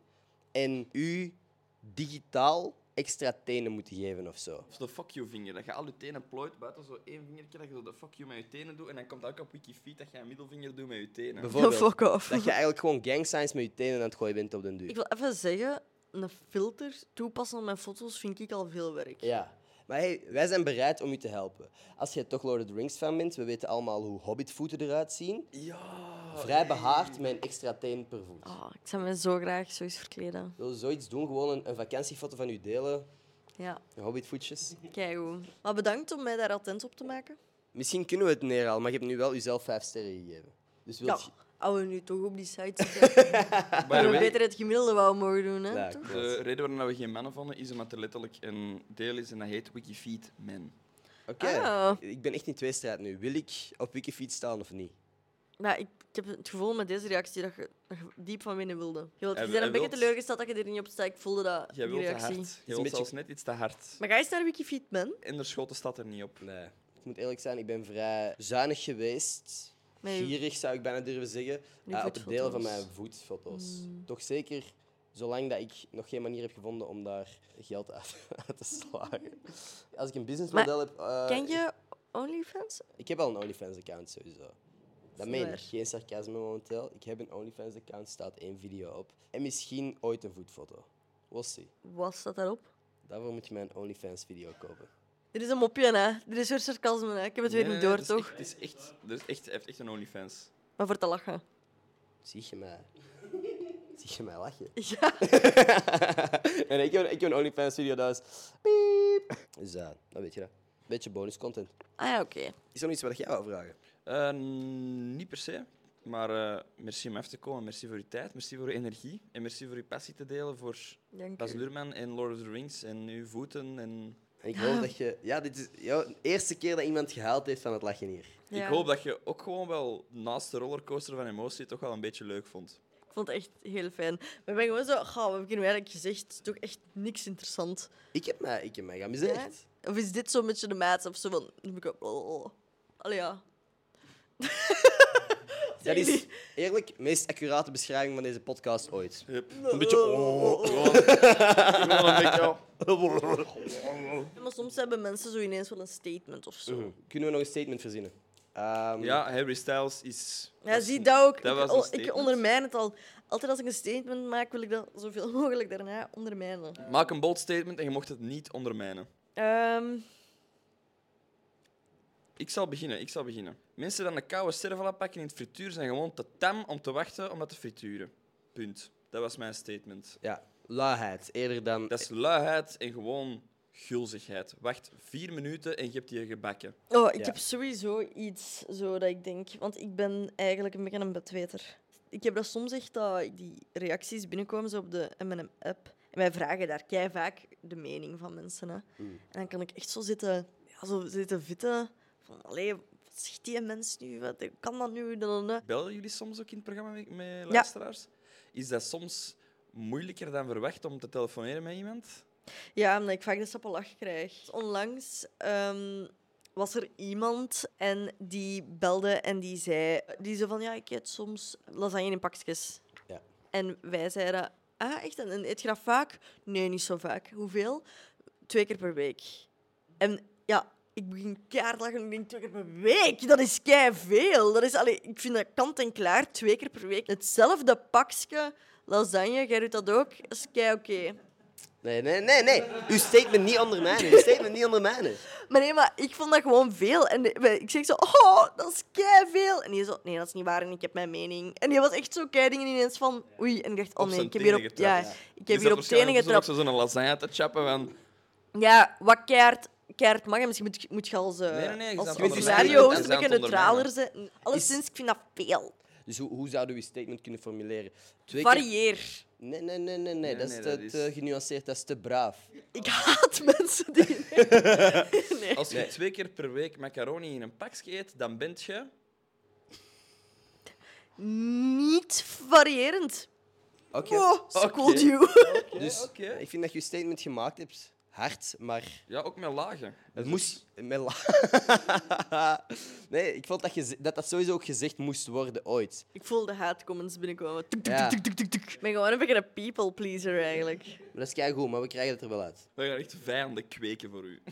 En u digitaal extra tenen moeten geven of zo. Of zo de fuck you vinger. Dat je al je tenen plooit buiten zo één vingertje. Dat je zo de fuck you met je tenen doet. En dan komt dat ook op Wikifeed dat je een middelvinger doet met je tenen. Bijvoorbeeld. Fuck off. Dat je eigenlijk gewoon gang signs met je tenen aan het gooien bent op den duur. Ik wil even zeggen, een filter toepassen op mijn foto's vind ik al veel werk. Ja. Maar hey, wij zijn bereid om u te helpen. Als je toch Lord of the Rings fan bent, we weten allemaal hoe hobbitvoeten eruit zien. Ja. Vrij behaard met een extra teen per voet. Oh, ik zou me zo graag zo eens verkleden. Wil je zoiets doen? Gewoon een, een vakantiefoto van u delen. Ja, Hobbitvoetjes. keigoed. Maar bedankt om mij daar attent op te maken. Misschien kunnen we het neerhalen, maar je hebt nu wel uzelf vijf sterren gegeven. Dus Ja, wilt je... als we nu toch op die site zitten, By the kunnen we way, beter het gemiddelde wou mogen doen, hè? Ja, toch? klopt. de reden waarom we geen mannen vonden is omdat er letterlijk een deel is en dat heet Wikifeed Men. Oké. Ah. Ik ben echt in twee strijd nu. Wil ik op Wikifiets staan of niet? Maar Nou, ik, ik heb het gevoel met deze reactie dat je dat je diep van binnen wilde. Je, wilt, Hij- je bent hij een beetje wilt- teleurgesteld dat je er niet op staat. Ik voelde dat, Jij die wilt te hard. reactie. Jij wilt beetje- zelfs net iets te hard. Maar ga eens naar Wikifeed, man. En er schoten staat er niet op. Nee. Ik moet eerlijk zijn, ik ben vrij zuinig geweest. Nee. Gierig zou ik bijna durven zeggen. Nu eh, op het delen van voetfoto's. Hmm. mijn voetfoto's. Toch zeker zolang dat ik nog geen manier heb gevonden om daar geld uit, uit te slagen. Als ik een businessmodel heb. eh, Ken je OnlyFans? Ik heb al een OnlyFans-account sowieso. Dat meen ik. waar. Geen sarcasme momenteel. Ik heb een OnlyFans-account, staat één video op. En misschien ooit een voetfoto. We'll see. Wat staat daarop? Daarvoor moet je mijn OnlyFans-video kopen. Er is een mopje, hè. Er is weer sarcasme, hè. Ik heb het weer Nee, niet nee, dus door, nee, toch? Het is echt, het is echt, er is echt, hij heeft echt een OnlyFans. Maar voor te lachen. Zie je mij? Zie je mij lachen? Ja. en ik heb, ik heb een OnlyFans-video, dat is... Piep. Dus eh, dat weet je dat. Beetje bonus-content. Ah ja, oké. Is er nog iets wat jij wou vragen? Eh, niet per se. Maar eh, merci om af te komen. Merci voor uw tijd. Merci voor uw energie. En merci voor uw passie te delen voor Dank Bas u. Luhrmann en Lord of the Rings en uw voeten. En... En ik hoop dat je... Ja, dit is jouw eerste keer dat iemand gehaald heeft van het lachen hier. Ja. Ik hoop dat je ook gewoon wel naast de rollercoaster van emotie toch wel een beetje leuk vond. Ik vond het echt heel fijn. We zijn gewoon zo... Goh, we hebben hier nu eigenlijk gezegd. Het is toch echt niks interessant. Ik heb mij, ik heb mij geamuseerd. Of is dit zo'n beetje de maat? Of zo van... dan ben ik ook- oh. Allee, ja. Dat is eerlijk de meest accurate beschrijving van deze podcast ooit. Een beetje... Gewoon een beetje... Maar soms hebben mensen zo ineens wel een statement of Mhm. zo. Mhm. Kunnen we nog een statement verzinnen? Ehm, Ja, Harry Styles is... Ja, zie dat ook. dat ik, was al- een ik statement. ondermijn het al. Altijd als ik een statement maak, wil ik dat zoveel mogelijk daarna ondermijnen. Maak een bold statement en je mocht het niet ondermijnen. Ehm, Ik zal beginnen, ik zal beginnen. Mensen die een koude servala pakken in het frituur zijn gewoon te tam om te wachten om dat te frituren. Punt. Dat was mijn statement. ja. Laaiheid, eerder dan... Dat is luiheid en gewoon gulzigheid. Wacht vier minuten en je hebt je gebakken. Oh, ik Ja. heb sowieso iets zo dat ik denk. Want ik ben eigenlijk een beetje een bedweter. Ik heb dat soms echt dat ik die reacties binnenkomen zo op de MM-app. En wij vragen daar kei vaak de mening van mensen. Hè. En dan kan ik echt zo zitten, ja, zo zitten vitten. Van, allee, wat zegt die mens nu? Wat kan dat nu? Dan, dan, dan. Bellen jullie soms ook in het programma met, met luisteraars? Is dat soms moeilijker dan verwacht om te telefoneren met iemand? Ja, omdat ik vaak de sappe lach krijg. Onlangs ehm, was er iemand en die belde en die zei... Die zo van, ja, ik eet soms lasagne in pakjes. Ja. En wij zeiden, ah, echt? En en eet je dat vaak? Nee, niet zo vaak. Hoeveel? Twee keer per week. En ja, ik begin keihard lachen en ik denk, twee keer per week? Dat is kei veel. Dat is, allee, ik vind dat kant en klaar, twee keer per week. Hetzelfde pakje lasagne, jij doet dat ook, dat is kei oké. Nee, nee, nee, nee. Uw statement niet ondermijnen. Uw statement niet ondermijnen. Maar nee, maar ik vond dat gewoon veel. En de- wij- ik zeg zo, oh, dat is kei veel. En die zo, nee, dat is niet waar en ik heb mijn mening. En die was echt zo kei dingen ineens van, oei. En ik dacht, Op oh nee, zijn ik heb hier tenen op, getrapt. ja, Ja. ik heb hier op tenen Ik getrapt. zo'n lasagne te chappen van... Ja, wat keihard, keihard mag. en Misschien moet, moet je als, eh Nee, nee, nee, ik als snap wat je radio bedoelt. host een Ik beetje ben aan het neutraler ondermijnen. zijn. Alleszins, ik vind dat veel. Dus hoe, hoe zouden we je statement kunnen formuleren? Twee keer- Varieer. Nee, nee, nee, nee, nee. dat is nee, te, dat is- te genuanceerd, dat is te braaf. Ik haat mensen die... nee. Als je twee keer per week macaroni in een pakje eet, dan bent je... Niet variërend. Oh, Oké. Wow, scold Oké. Oh. you. Dus oké. ik vind dat je je statement gemaakt hebt. Hard, maar Ja, ook met lagen. het moest. Met la- nee, ik vond dat, geze- dat dat sowieso ook gezegd moest worden ooit. Ik voel de haatcomments binnenkomen. Tuk, tuk, Ja. tuk, tuk, tuk, tuk. Ik ben gewoon een beetje een people pleaser eigenlijk. Maar dat is kei goed, maar we krijgen het er wel uit. We gaan echt vijanden kweken voor u.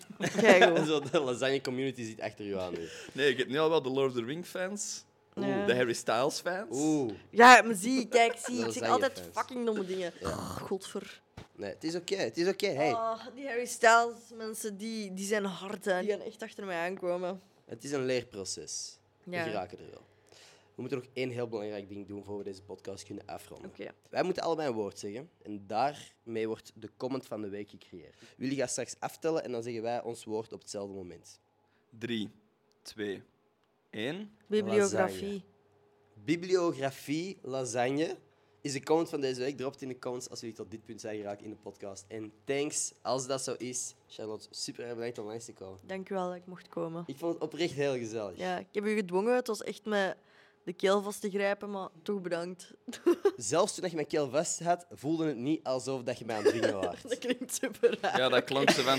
Kijk hoor. Zo, de lasagne community zit achter u aan nu. Nee, ik heb nu al wel de Lord of the Ring fans. Ja. De Harry Styles fans. Oeh. Ja, maar zie, kijk, zie. Dat Ik zeg zijn altijd je fans. fucking domme dingen. Oh, Godver. Nee, het is oké, het is oké. Hey, Oh, die Harry Styles mensen, die, die zijn hard, hè. Die gaan echt achter mij aankomen. het is een leerproces. Ja. We geraken Dus er wel. We moeten nog één heel belangrijk ding doen voor we deze podcast kunnen afronden. Oké. Wij moeten allebei een woord zeggen. En daarmee wordt de comment van de week gecreëerd. Jullie gaan straks aftellen en dan zeggen wij ons woord op hetzelfde moment. Drie, twee, één. Bibliografie. Bibliografie lasagne is de comment van deze week. Drop het in de comments als jullie tot dit punt zijn geraakt in de podcast. En thanks als dat zo is. Charlotte, super erg bedankt om langs te komen. Dankjewel dat ik mocht komen. Ik vond het oprecht heel gezellig. Ja, ik heb u gedwongen. Het was echt met de keel vast te grijpen, maar toch bedankt. Zelfs toen je mijn keel vast had, voelde het niet alsof dat je mij aan het dwingen was. Dat klinkt super raar. Ja, dat klonk ze van.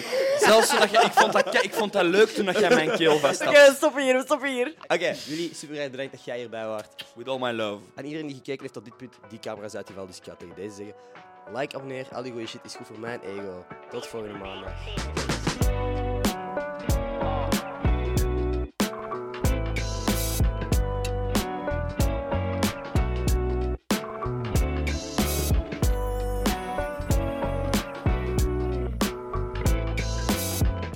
Zelfs toen dat jij- ik, vond dat, ke- ik vond dat leuk toen dat jij mijn keel vast Oké, had. we stoppen hier, we stoppen hier. Oké, jullie super erg bedankt dat jij hierbij was. With all my love. Aan iedereen die gekeken heeft tot dit punt, die camera is uitgevallen, dus ik ga tegen deze zeggen. Like, abonneer, al die goede shit is goed voor mijn ego. Tot volgende maandag.